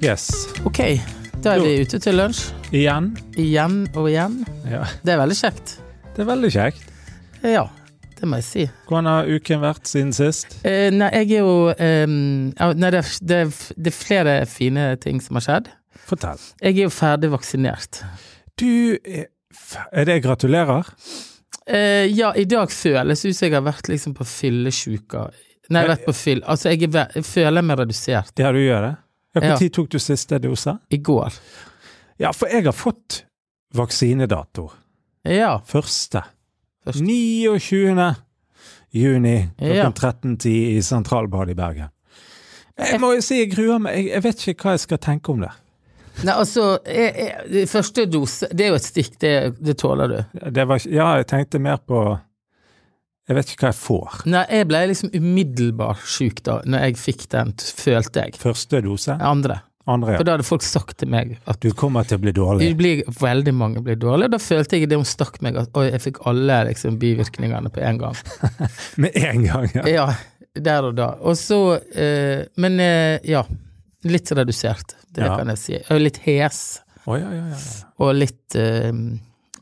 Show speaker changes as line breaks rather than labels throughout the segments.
Yes.
Ok, da er vi ute til lunsj.
Igjen.
Igjen og igjen.
Ja.
Det er veldig kjekt.
Det er veldig kjekt.
Ja, det må jeg si.
Hvordan har uken vært siden sist?
Eh, nei, jeg er jo eh, ja, Nei, det er, det, er, det er flere fine ting som har skjedd.
Fortell.
Jeg er jo ferdig vaksinert.
Du er f- Er det gratulerer?
Eh, ja, i dag føles ut som jeg har vært liksom på fyllesjuka. Nei, jeg har vært på fyll... Altså, jeg, er, ve- jeg føler meg redusert.
Ja, du gjør det? Ja,
Ja.
Når tok du siste dose?
I går.
Ja, for jeg har fått vaksinedato.
Ja.
Første.
Første.
29. juni klokken
Ja.
13.10 i Sentralbadet i Bergen. Jeg må jo si jeg gruer meg. Jeg, jeg vet ikke hva jeg skal tenke om det.
Nei, altså, jeg, jeg, det første dose Det er jo et stikk, det, det tåler du.
det var, ikke- ja, jeg tenkte mer på Jeg vet ikke hva jeg får.
Nei, jeg ble liksom umiddelbart sjuk da når jeg fikk den, t- følte jeg.
Første dose?
Andre.
Andre, ja.
For da hadde folk sagt til meg at
Du kommer til å bli dårlig.
det blir, veldig mange blir dårlige. og Da følte jeg det hun stakk meg, at oi, jeg fikk alle liksom, bivirkningene på en gang.
Med en gang, ja.
Ja, der og da. Og så eh, Men eh, ja. Litt redusert, det
Ja.
kan jeg si. Og litt hes,
Å, ja, ja, ja, ja.
og litt eh,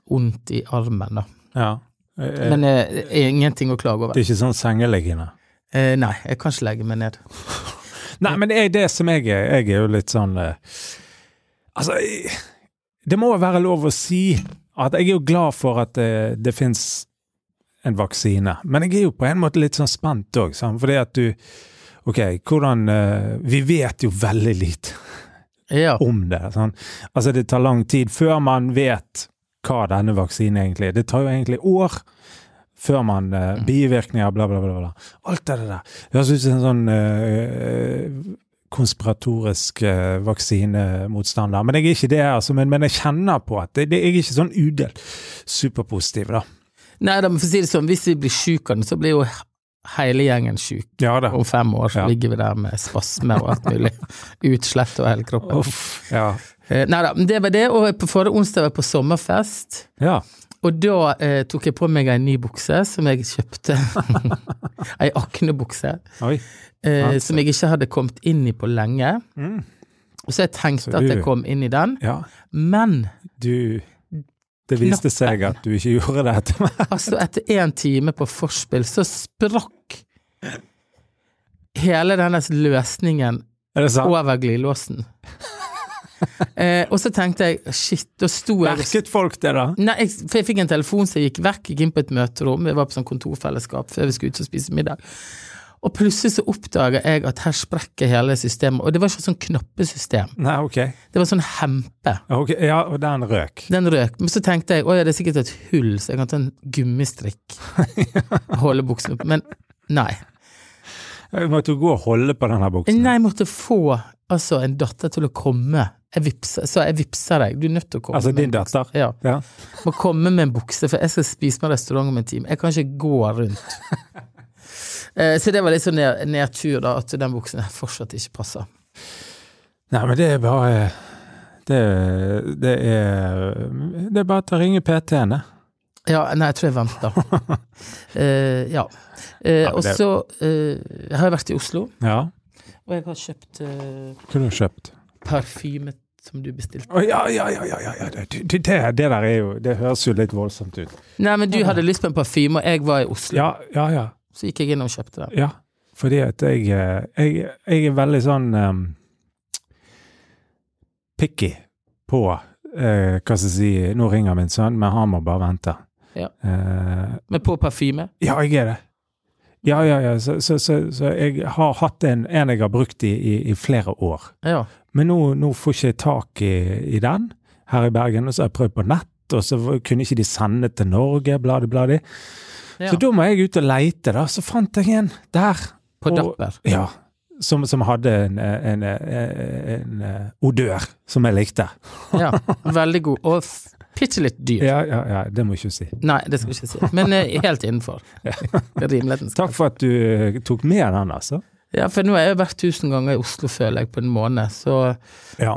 vondt i armen, da.
ja. Eh, eh,
Men eh, ingenting å klage
Det
over.
er ikke sånn sengeliggende.
Eh, nei, jeg kan ikke legge meg ned.
Nei, men det er det som jeg er. Jeg er jo litt sånn eh, Altså, jeg- det må jo være lov å si at jeg er jo glad for at eh, det fins en vaksine. Men jeg er jo på en måte litt sånn spent òg, fordi at du Ok, hvordan eh, Vi vet jo veldig lite
Ja.
om det. Sånn. Altså, det tar lang tid før man vet hva denne vaksinen egentlig er. Det tar jo egentlig år før man eh, Bivirkninger, bla, bla, bla, bla. Alt det der. Det høres ut som en sånn eh, konspiratorisk eh, vaksinemotstander. Men jeg er ikke det, altså. Men, men jeg kjenner på at det, det, jeg er ikke sånn udelt superpositiv, da.
Nei, da, men for å si det sånn, hvis vi blir syke av den, så blir jo hele gjengen syk.
Ja da.
Om fem år så
Ja.
ligger vi der med spasmer og alt mulig. Utslett og hele kroppen.
Uff. Ja.
Eh, nei da, men det var det. Og på forrige onsdag var jeg på sommerfest.
ja.
Og da eh, tok jeg på meg ei ny bukse som jeg kjøpte. ei aknebukse
Oi.
eh,
Altså.
som jeg ikke hadde kommet inn i på lenge.
Mm.
Og så jeg tenkte
Så
at jeg
du-
kom inn i den,
Ja.
men
Du Det viste seg at du ikke gjorde det etter meg.
Altså, etter én time på forspill, så sprakk hele denne løsningen
Er det sant?
over glidelåsen. Eh, og så tenkte jeg shit, da sto jeg
Merket folk det, da?
Nei, jeg, for jeg fikk en telefon, så jeg gikk vekk, gikk inn på et møterom, jeg var på sånn kontorfellesskap før vi skulle ut og spise middag. Og plutselig så oppdaga jeg at her sprekker hele systemet, og det var ikke sånn knappesystem,
Nei, ok.
det var sånn hempe.
Ok, ja, og den røk.
Den røk. Men så tenkte jeg å ja, det er sikkert et hull, så jeg kan ta en gummistrikk og holde buksen opp. Men nei.
Jeg måtte jo gå og holde på denne buksen.
Nei, jeg måtte få altså, en datter til å komme. Jeg vipser, så jeg vipser deg. Du er nødt til å komme.
Altså
med
din
en bukse.
datter.
Ja.
Ja.
Må komme med en bukse, for jeg skal spise på restaurant om en time. Jeg kan ikke gå rundt. Eh, Så det var litt sånn ned- nedtur, da, at den buksen fortsatt ikke passer.
Nei, men det er bare Det, det er Det er bare til å ringe PT-ene.
Ja, nei, jeg tror jeg venter. Eh, ja. Eh,
Ja, men
og
det-
så eh, har jeg vært i Oslo,
Ja.
og jeg har kjøpt eh,
Kunne du kjøpt.
parfyme som du bestilte.
Å ja, ja, ja, ja, ja, ja. Det, det, det det der er jo Det høres jo litt voldsomt ut.
Nei, men du hadde lyst på en parfyme, og jeg var i Oslo.
Ja, ja, ja.
Så gikk jeg inn og kjøpte den.
ja. Fordi at jeg eh, Jeg, jeg er veldig sånn ehm, picky på eh, Hva skal jeg si Nå ringer min sønn, men han må bare vente.
Ja.
Eh,
Men på parfyme?
Ja, jeg er det. Ja, ja, ja. Så, så, så, så jeg har hatt en, en jeg har brukt i, i, i flere år.
Ja.
Men nå, nå får ikke jeg tak i, i den her i Bergen, og så har jeg prøvd på nett, og så kunne ikke de sende til Norge, bladi, bladi.
ja.
Så da må jeg ut og leite, da. Så fant jeg en der.
på
og-
Dapper.
Ja. Som, som hadde en, en, en, en eh, odør som jeg likte.
Ja. Veldig god. Og f- bitte litt dyr.
Ja, ja, ja. Det må jeg ikke si.
Nei, det skal jeg ikke si. Men eh, helt innenfor. Rimelighetens
Takk for at du eh, tok med den, altså.
Ja, for nå har jeg vært tusen ganger i Oslo, føler jeg, på en måned. Så
Ja.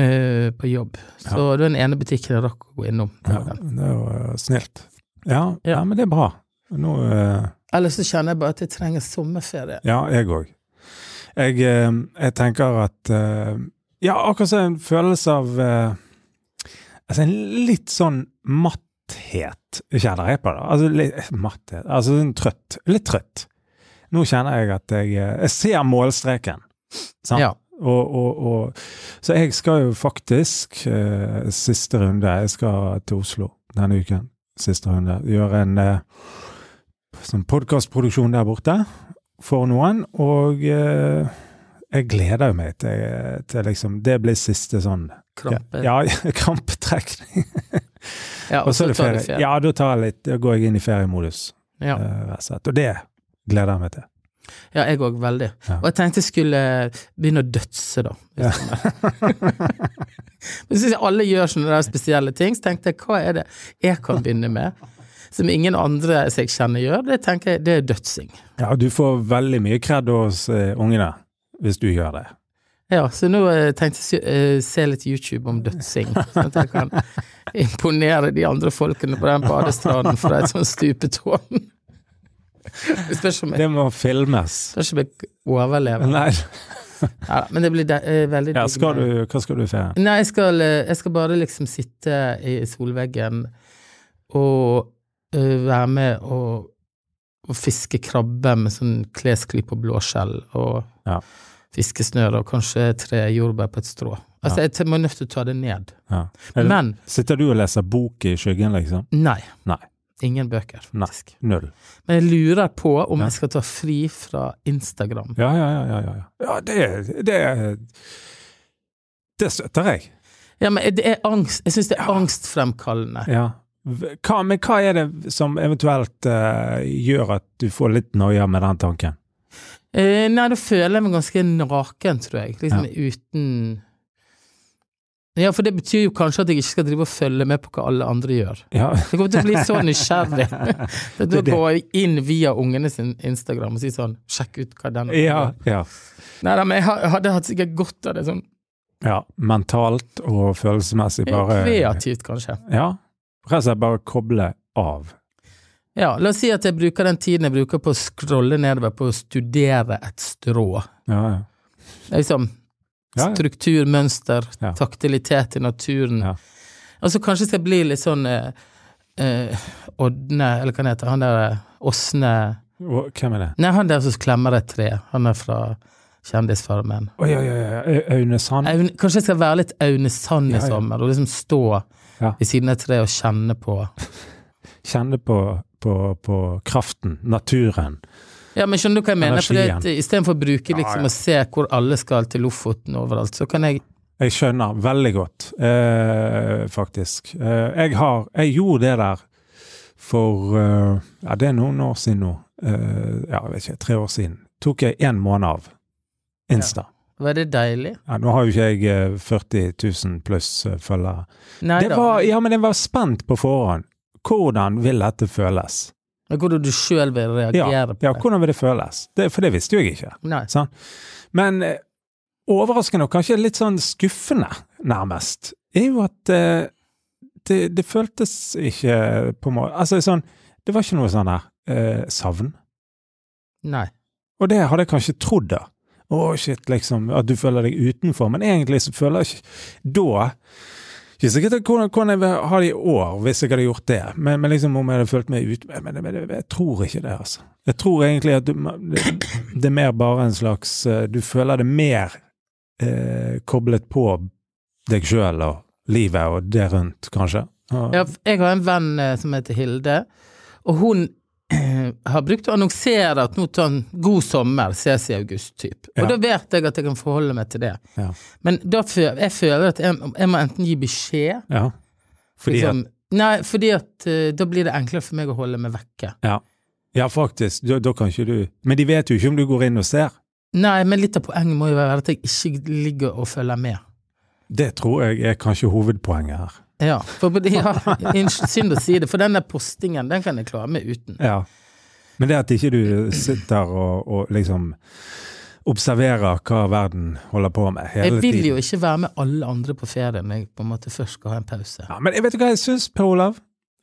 eh, på jobb. Så det var den ene butikken jeg rakk å gå innom.
Ja, det er jo eh, snilt. Ja,
Ja.
ja. men det er bra. Nå eh,
Ellers så kjenner jeg bare at jeg trenger sommerferie.
Ja, jeg òg. Jeg, eh, jeg tenker at eh, Ja, akkurat som en følelse av eh, Altså en litt sånn matthet kjenner jeg på det. Altså litt matthet Altså sånn trøtt. Litt trøtt. Nå kjenner jeg at jeg eh, Jeg ser målstreken. Sant?
Ja.
Og, og, og, så jeg skal jo faktisk, eh, siste runde, jeg skal til Oslo denne uken, siste runde, gjøre en eh, sånn podcastproduksjon der borte for noen, og eh, jeg gleder jo meg til, til liksom, det blir siste sånn
Krampe.
Ja, krampetrekning.
Ja,
Og så er det ferie. Ja, da tar jeg litt, da går jeg inn i feriemodus,
Ja.
eh, rett og slett. Og det gleder jeg meg til.
Ja, jeg òg, veldig.
Ja.
Og jeg tenkte jeg skulle begynne å dødse, da. hvis
Ja.
det er. Men synes jeg alle gjør sånne der spesielle ting, så tenkte jeg hva er det jeg kan begynne med? Som ingen andre som jeg kjenner gjør, det tenker jeg, det er dødsing.
Ja, du får veldig mye kred hos eh, ungene hvis du gjør det.
Ja, så nå eh, tenkte jeg sy- eh, se litt YouTube om dødsing, sånn at jeg kan imponere de andre folkene på den badestranden fra et sånt stupetårn. Det spørs om jeg,
Det må filmes.
spørs om jeg overlever.
Nei,
Ja, men det blir de, eh, veldig
ja,
digg
skal
med-
du, hva skal du i ferien?
Nei, jeg skal, eh, jeg skal bare liksom sitte i solveggen og eh, være med og, og fiske krabbe med sånn klesklyp og blåskjell, og
Ja.
fiske snøre og kanskje tre jordbær på et strå. Altså, jeg t- må nødt til å ta det ned.
Ja. Er det-
Men
Sitter du og leser bok i skyggen, liksom?
nei.
Nei.
Ingen bøker,
Nei.
faktisk.
Null.
Men jeg lurer på om
Ja.
jeg skal ta fri fra Instagram.
Ja, ja, ja. ja, ja, ja. ja det, det Det støtter jeg.
Ja, men det er angst. Jeg syns det er angstfremkallende.
Ja. V- Hva, men hva er det som eventuelt eh, gjør at du får litt noia med den tanken?
Eh, nei, da føler jeg meg ganske naken, tror jeg. Liksom uten Ja, for det betyr jo kanskje at jeg ikke skal drive og følge med på hva alle andre gjør.
Ja,
Jeg kommer til å bli så nysgjerrig. Så da
Det er det.
går jeg inn via ungene sin Instagram og sier sånn Sjekk ut hva den
ja. ja.
Nei da, men jeg ha- hadde hatt sikkert godt av det sånn
ja. Mentalt og følelsesmessig bare
kreativt, kanskje.
Ja. Rett og slett bare koble av.
Ja, la oss si at jeg bruker den tiden jeg bruker på å scrolle nedover på å studere et strå.
Ja, ja.
Det er Liksom
Ja, ja.
struktur, mønster,
Ja.
taktilitet i naturen.
Ja.
Og så kanskje skal jeg bli litt sånn eh, eh, Ådne, eller hva han heter han der eh, Åsne
Og, hvem er det?
Nei, han der som klemmer et tre. Han er fra Kjendisfarmen.
Å ja, ja, ja. Au- Aune Sand.
Aune- Kanskje jeg skal være litt Aune Sand
Ja,
i
ja.
sommer, og liksom stå
Ja.
ved siden av et tre og kjenne på
kjenne på, på, på kraften, naturen.
Ja, men skjønner du hva jeg mener? For
Energien.
det, istedenfor å bruke liksom
Ja, ja.
å se hvor alle skal til Lofoten og overalt, så kan jeg
Jeg skjønner veldig godt, eh, faktisk. Eh, jeg har Jeg gjorde det der for eh, Ja, det er noen år siden nå. Eh, ja, jeg vet ikke, tre år siden. Tok jeg én måned av Insta.
Var det deilig?
Ja, nå har jo ikke jeg eh, 40 000 pluss eh, følgere.
Nei
Det
da.
var, ja, men jeg var spent på forhånd. Hvordan vil dette føles?
Men Hvordan du sjøl vil
Ja,
reagere på
ja
det.
hvordan vil det føles? Det, for det visste jo jeg ikke.
Nei.
Sånn. Men eh, overraskende og kanskje litt sånn skuffende, nærmest, er jo at eh, det, det føltes ikke på må... Altså sånn Det var ikke noe sånn her eh, savn.
Nei.
Og det hadde jeg kanskje trodd, da. Å, shit, liksom, at du føler deg utenfor. Men egentlig så føler jeg ikke Da Ikke sikkert at hvordan, hvordan jeg vil ha det i år, hvis jeg hadde gjort det, men, men liksom om jeg hadde følt meg ute men, men, men jeg tror ikke det, altså. Jeg tror egentlig at du, det, det er mer bare en slags eh, Du føler det mer eh, koblet på deg sjøl og livet og det rundt, kanskje. Og-
Ja, f- jeg har en venn eh, som heter Hilde, og hun har brukt å annonsere at nå tar han 'god sommer', ses i august, typ. Og
Ja.
da vet jeg at jeg kan forholde meg til det.
Ja.
Men da føler jeg føler at jeg, jeg må enten gi beskjed
ja. Fordi at
liksom, Nei, fordi at eh, da blir det enklere for meg å holde meg vekke.
Ja, ja faktisk. Da, da kan ikke du Men de vet jo ikke om du går inn og ser.
Nei, men litt av poenget må jo være at jeg ikke ligger og følger med.
Det tror jeg er kanskje hovedpoenget her.
Ja, for, ja, unnskyld- synd å si det, for den der postingen, den kan jeg klare meg uten.
Ja. Men det at ikke du sitter og, og liksom observerer hva verden holder på med hele
Jeg vil
tiden.
jo ikke være med alle andre på ferie når jeg på en måte først skal ha en pause.
Ja, men jeg vet du hva jeg syns, Per Olav?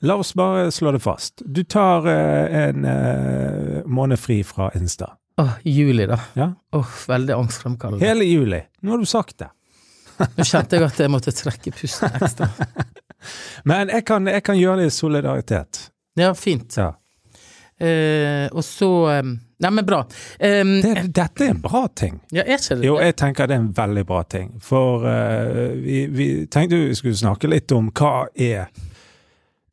La oss bare slå det fast. Du tar eh, en eh, måned fri fra Insta.
Åh, juli, da.
Ja?
Åh, Veldig angstfremkallende.
Hele juli. Nå har du sagt det.
Nå kjente jeg at jeg måtte trekke pusten ekstra.
Men jeg kan, jeg kan gjøre det i solidaritet.
Ja, fint.
Ja.
Eh, og så eh, Nei, men bra. Eh,
Det, dette er en bra ting.
ja, er ikke det
Jo, jeg tenker det er en veldig bra ting. For eh, vi, vi tenkte vi skulle snakke litt om hva er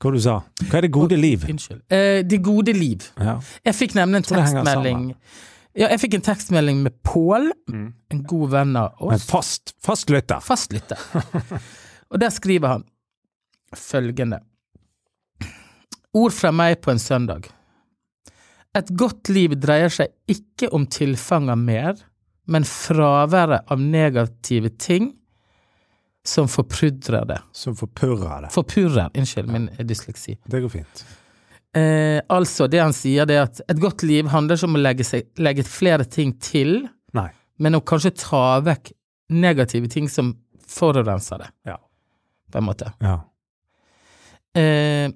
Hva du sa? Hva er det gode liv?
Unnskyld. Eh, det gode liv.
Ja.
Jeg fikk nemlig en
tror det henger
tekstmelding Ja, jeg fikk en tekstmelding med Pål,
Mm.
en god venn av
Men
oss,
fast, fast lytter.
fastlytter. og der skriver han følgende Ord fra meg på en søndag. Et godt liv dreier seg ikke om tilfang av mer, men fraværet av negative ting som forpudrer det.
Som forpurrer det.
Forpurrer, unnskyld min eh, dysleksi.
Det går fint.
Eh, altså, det han sier, det er at et godt liv handler ikke om å legge, seg, legge flere ting til,
Nei.
men å kanskje ta vekk negative ting som forurenser det,
Ja.
på en måte.
ja.
Eh,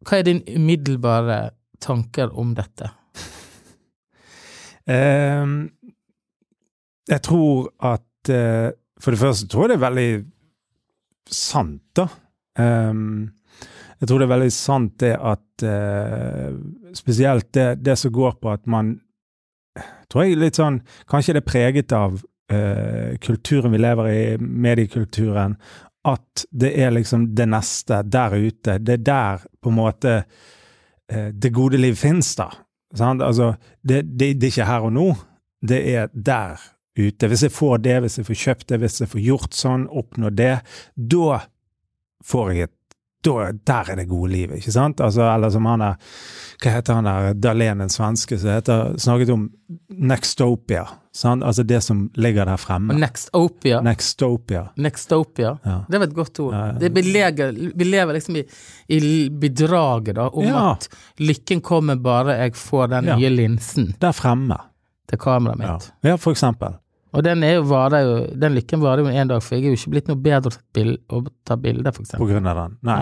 hva er din umiddelbare tanker om dette?
Ehm, jeg tror at eh, For det første tror jeg det er veldig sant, da. Ehm, jeg tror det er veldig sant det at eh, Spesielt det, det som går på at man Tror jeg litt sånn Kanskje det er preget av eh, kulturen vi lever i, mediekulturen, at det er liksom det neste der ute. Det er der på en måte eh, det gode liv fins, da. Sant? Altså, det, det, det er ikke her og nå, det er der ute. Hvis jeg får det, hvis jeg får kjøpt det, hvis jeg får gjort sånn, oppnå det, da får jeg et da, Der er det gode livet, ikke sant? Altså, eller som han der Hva heter han der Dahlén, den svenske, som heter, snakket om Nextopia. Sant? Altså det som ligger der
Og
fremme.
Nextopia?
Nextopia.
Nextopia?
Ja.
Det var et godt ord.
Ja, ja.
Det beleger, vi lever liksom i, i bedraget da, om
Ja.
at lykken kommer bare jeg får den
Ja.
nye linsen
Der fremme.
til kameraet mitt.
Ja. ja, for eksempel.
Og den, er jo, varer jo, den lykken varer jo en dag, for jeg er jo ikke blitt noe bedre til bil, å ta bilder, for
På
eksempel.
grunn av den. Nei.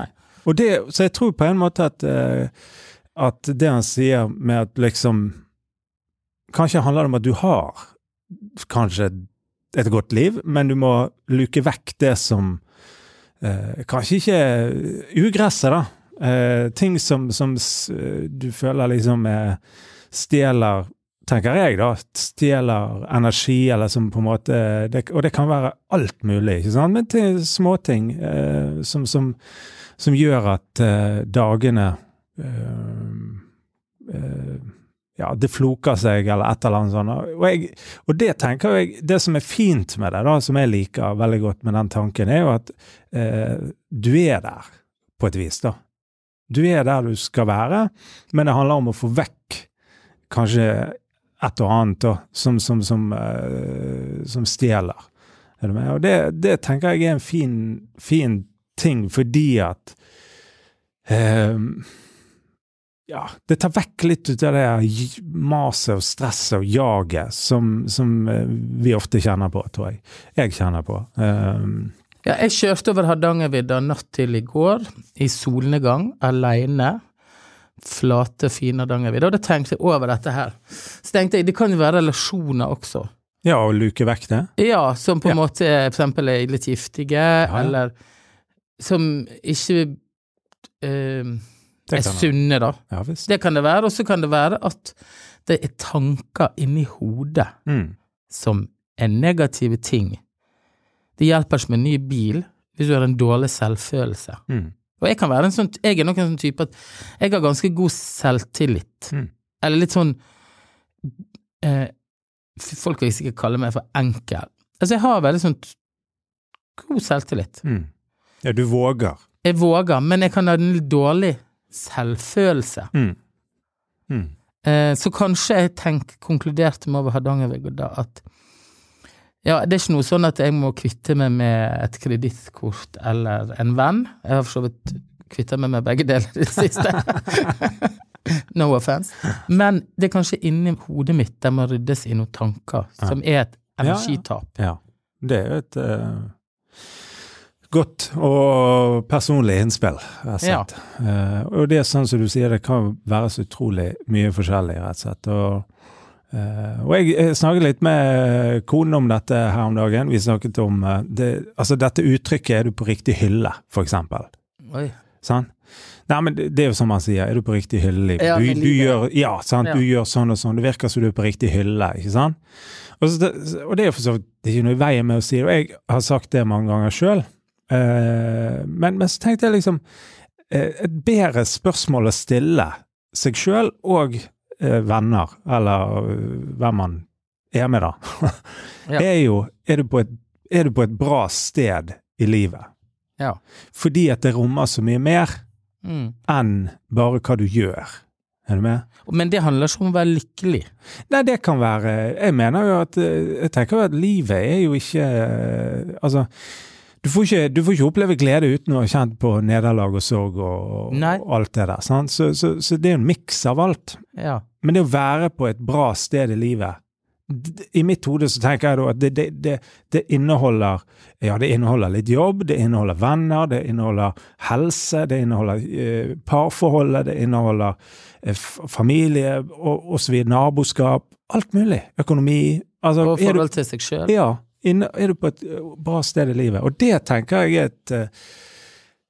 Og det, så jeg tror på en måte at, eh, at det han sier med at liksom Kanskje handler det om at du har kanskje et godt liv, men du må luke vekk det som eh, Kanskje ikke ugresset, da. Eh, ting som, som s- eh, du føler liksom eh, stjeler Tenker jeg, da. Stjeler energi, eller som på en måte det, Og det kan være alt mulig, ikke sant? Men til småting eh, som, som, som gjør at eh, dagene eh, eh, ja, det floker seg, eller et eller annet sånt. Og, jeg, og det tenker jeg, det som er fint med det, da, som jeg liker veldig godt med den tanken, er jo at eh, du er der, på et vis, da. Du er der du skal være, men det handler om å få vekk kanskje et og annet da, som, som, som, eh, som stjeler. Er du med? Og det, det tenker jeg er en fin, fin ting, fordi at eh, ja, det tar vekk litt ut av det her j- maset og stresset og jaget som, som eh, vi ofte kjenner på, tror jeg. Jeg kjenner på. Ehm,
Ja, jeg kjørte over Hardangervidda natt til i går, i solnedgang, aleine. Flate, fine Hardangervidda. Og da tenkte jeg over dette her. Så tenkte jeg, det kan jo være relasjoner også.
ja, å luke vekk det.
Ja, som på en
Ja.
måte er, for eksempel er litt giftige,
ja.
eller som ikke eh,
Det
er
kan jeg.
sunne, da.
Ja, visst.
Det kan det være. Og så kan det være at det er tanker inni hodet.
Mm.
som er negative ting. Det hjelper ikke med en ny bil hvis du har en dårlig selvfølelse.
Mm.
Og jeg kan være en sånn, jeg er nok en sånn type at jeg har ganske god selvtillit.
Mm.
Eller litt sånn eh, Folk vil sikkert kalle meg for enkel. Altså, jeg har veldig sånn t- god selvtillit.
Mm. Ja, du våger.
Jeg våger, men jeg kan ha en dårlig selvfølelse.
Mm. Mm.
Eh, så kanskje jeg tenk, konkluderte med over Hardangervidda at ja, det er ikke noe sånn at jeg må kvitte meg med et kredittkort eller en venn. Jeg har for så vidt kvitta meg med begge deler i det siste. no offense. Men det er kanskje inni hodet mitt der må ryddes i noen tanker,
Ja.
som er et
ja.
energitap.
Ja. Det er jo et eh, godt og personlig innspill, rett og slett. Eh, og det er sånn som du sier, det kan være så utrolig mye forskjellig, rett og slett. Og Eh, og jeg, jeg snakket litt med konen om dette her om dagen. Vi snakket om eh, det, altså dette uttrykket 'er du på riktig hylle', for eksempel.
Oi.
Sant? Nei, men det det er jo som han sier, er du på riktig hylle? Liv?
Ja,
du,
med
du, gjør,
livet.
ja, sant?
Ja.
du gjør sånn og sånn, det virker som du er på riktig hylle, ikke sant? Og, så, og det er jo for så vidt det er ikke noe i veien med å si det, og jeg har sagt det mange ganger sjøl, men, men så tenkte jeg liksom eh, Et bedre spørsmål å stille seg sjøl og eh, venner, eller eh, hvem man er med, da,
Ja.
er jo er du, på et, er du på et bra sted i livet?
Ja.
Fordi at det rommer så mye mer
Mm.
enn bare hva du gjør. Er du med?
Men det handler ikke om å være lykkelig.
Nei, det kan være Jeg mener jo at eh, Jeg tenker jo at livet er jo ikke eh, Altså, du får ikke, du får ikke oppleve glede uten å ha kjent på nederlag og sorg og,
Nei.
og alt det der. Sant? Så, så, så det er en miks av alt.
Ja.
Men det å være på et bra sted i livet d- d- I mitt hode så tenker jeg da at det, det, det, det inneholder Ja, det inneholder litt jobb, det inneholder venner, det inneholder helse, det inneholder eh, parforholdet, det inneholder eh, f- familie og og så videre, naboskap Alt mulig. Økonomi. Altså,
Og
er du,
forhold til seg sjøl.
ja, inne, er du på et eh, bra sted i livet? Og det tenker jeg er et eh,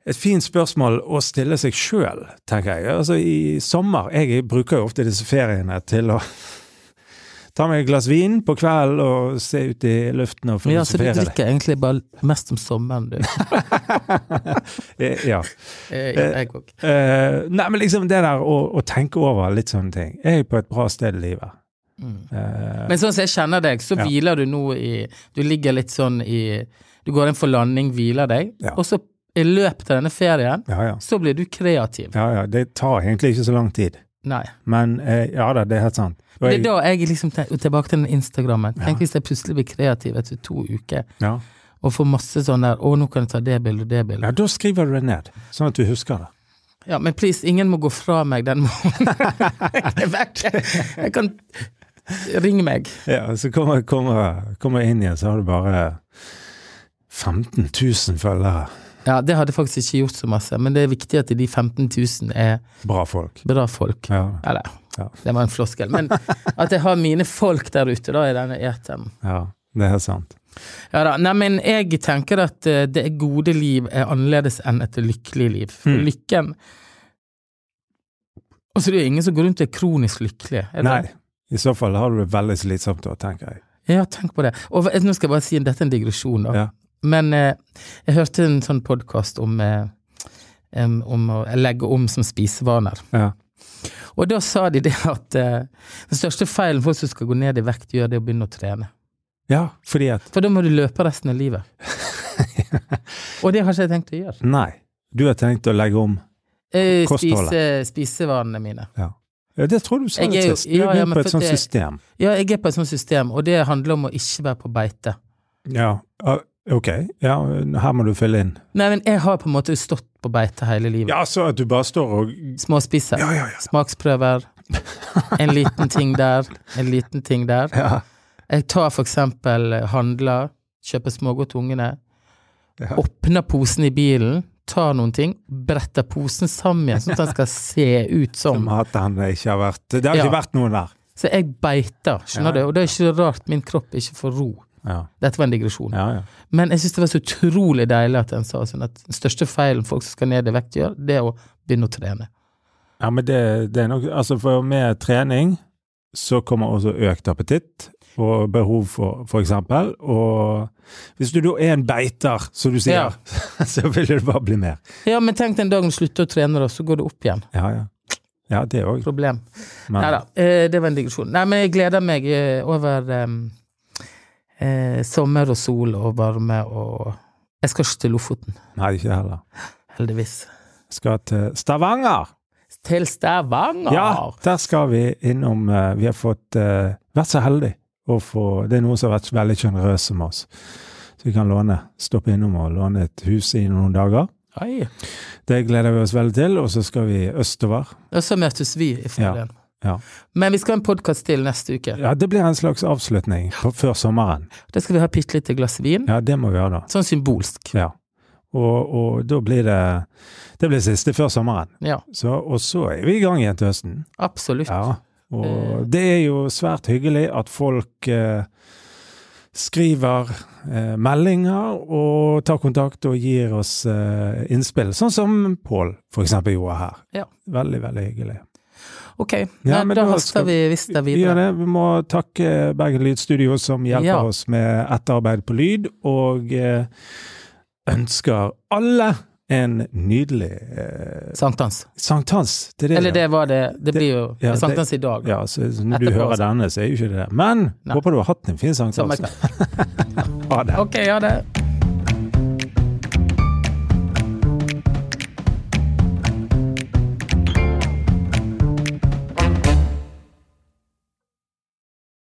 et fint spørsmål å stille seg sjøl, tenker jeg. Altså i sommer Jeg bruker jo ofte disse feriene til å ta meg et glass vin på kvelden og se ut i luften og
Ja, så du
filosofere.
drikker egentlig bare mest om sommeren, du.
Eh, Ja.
Eh, ja, jeg òg.
Eh, nei, men liksom det der å, å tenke over litt sånne ting. Er jeg på et bra sted i livet?
Mm.
Eh,
Men sånn som jeg kjenner deg, så
Ja.
hviler du nå i Du ligger litt sånn i Du går inn for landing, hviler deg,
Ja.
og så i løpet av denne ferien,
ja, ja.
så blir du kreativ.
ja, ja. Det tar egentlig ikke så lang tid.
Nei.
Men eh, ja da, det er helt sant. Og
Det er
jeg-
da jeg liksom tenker, og tilbake til den Instagrammen. Tenk hvis jeg plutselig blir kreativ etter to uker
ja.
og får masse sånn der 'Å, nå kan jeg ta det bildet og det bildet'.
ja, da skriver du det ned, sånn at du husker det.
Ja, men please, ingen må gå fra meg den måneden. jeg er vekk. Jeg kan Ring meg.
Ja, så kommer kommer- kommer jeg inn igjen, så har du bare 15 000 følgere.
Ja, det hadde jeg faktisk ikke gjort så masse, men det er viktig at de 15 000 er
Bra folk.
bra folk.
Ja,
Eller,
Ja.
det var en floskel. Men at jeg har mine folk der ute, da, i denne eten.
ja det er helt sant.
Ja da. Nei, men jeg tenker at eh, det gode liv er annerledes enn et lykkelig liv. For
Mm.
lykken Altså, det er jo ingen som går rundt og er kronisk lykkelig. Er det?
Nei, i så fall har du det veldig slitsomt da, tenker jeg.
Ja, tenk på det. Og hva- nå skal jeg bare si dette er en digresjon, da.
Ja.
Men eh, jeg hørte en sånn podkast om, eh, em, om å legge om som spisevaner.
Ja.
Og da sa de det at eh, den største feilen folk som skal gå ned i vekt, gjør det å begynne å trene.
ja, fordi at
For da må du løpe resten av livet. Og det har ikke jeg tenkt å gjøre.
Nei, du har tenkt å legge om.
Eh,
Kostholdet.
spise, spisevanene mine.
Ja, det tror du sa
Jeg
litt
er jo-
sist. Du
ja,
er
ja,
inne
men
på et
for
sånt
det-
system.
Ja, jeg er på et sånt system, og det handler om å ikke være på beite.
Ja, ah, ok. Ja, her må du fylle inn.
Nei, men jeg har på en måte stått på beite hele livet.
Ja, så at du bare står og
Småspiser.
Ja, ja, ja.
Smaksprøver. En liten ting der, en liten ting der.
Ja,
Jeg tar for eksempel eh, handler, kjøper smågodt til ungene,
Ja.
åpner posen i bilen, tar noen ting, bretter posen sammen igjen, sånn at den skal se ut som.
som at han ikke har vært Det har
Ja.
ikke vært noen der.
Så jeg beiter, skjønner
Ja.
du? Og det er ikke så rart min kropp ikke får ro.
Ja,
Dette var en digresjon.
ja. ja.
Men jeg syns det var så utrolig deilig at en sa sånn at den største feilen folk som skal ned i vekt gjør, det er å begynne å trene.
Ja, men det, det er nok Altså, for med trening så kommer også økt appetitt og behov for, for eksempel. Og hvis du da er en beiter, som du sier, så vil det bare bli mer.
Ja, men tenk den dagen du slutter å trene, da, så går det opp igjen.
Ja, ja. Ja, det òg.
Problem.
Men
Nei da, eh, det var en digresjon. Nei, men jeg gleder meg eh, over em, eh, sommer og sol og varme og Jeg skal ikke til Lofoten,
Nei, ikke heller.
heldigvis.
Skal til Stavanger!
Til Stavanger!
Ja, der skal vi innom eh, Vi har fått eh, vært så heldig å få Det er noen som har vært veldig sjenerøse med oss. Så vi kan låne, stoppe innom og låne et hus i noen dager.
Oi.
Det gleder vi oss veldig til. Og så skal vi østover.
Og så møtes vi i ferien.
ja.
Men vi skal ha en podkast til neste uke.
Ja, det blir en slags avslutning på, før sommeren.
Da skal vi ha bitte lite glass vin.
Ja, det må vi gjøre da.
Sånn symbolsk.
Ja. Og, og da blir det Det blir siste før sommeren.
Ja,
Så, og så er vi i gang igjen til høsten.
absolutt.
Ja. Og det er jo svært hyggelig at folk eh, skriver eh, meldinger og tar kontakt og gir oss eh, innspill. Sånn som Pål for eksempel gjorde her.
Ja.
Veldig, veldig hyggelig.
Ok,
Ja,
Nei,
men
da
da
haster
skal-
vi visst det
Vi, gjør
videre.
det. vi må takke Bergen Lydstudio, som hjelper
Ja.
oss med etterarbeid på lyd, og eh, ønsker alle en nydelig eh,
Sankthans.
sankthans. Det er det,
Eller det var det. Det blir jo
Ja, det-
sankthans i dag.
Ja, så når du
Etterpå,
hører
altså.
denne, så er jo ikke det det. Men
Nei.
håper du har hatt en fin
Samme
sankthans. Ha det.
Ok, ha det.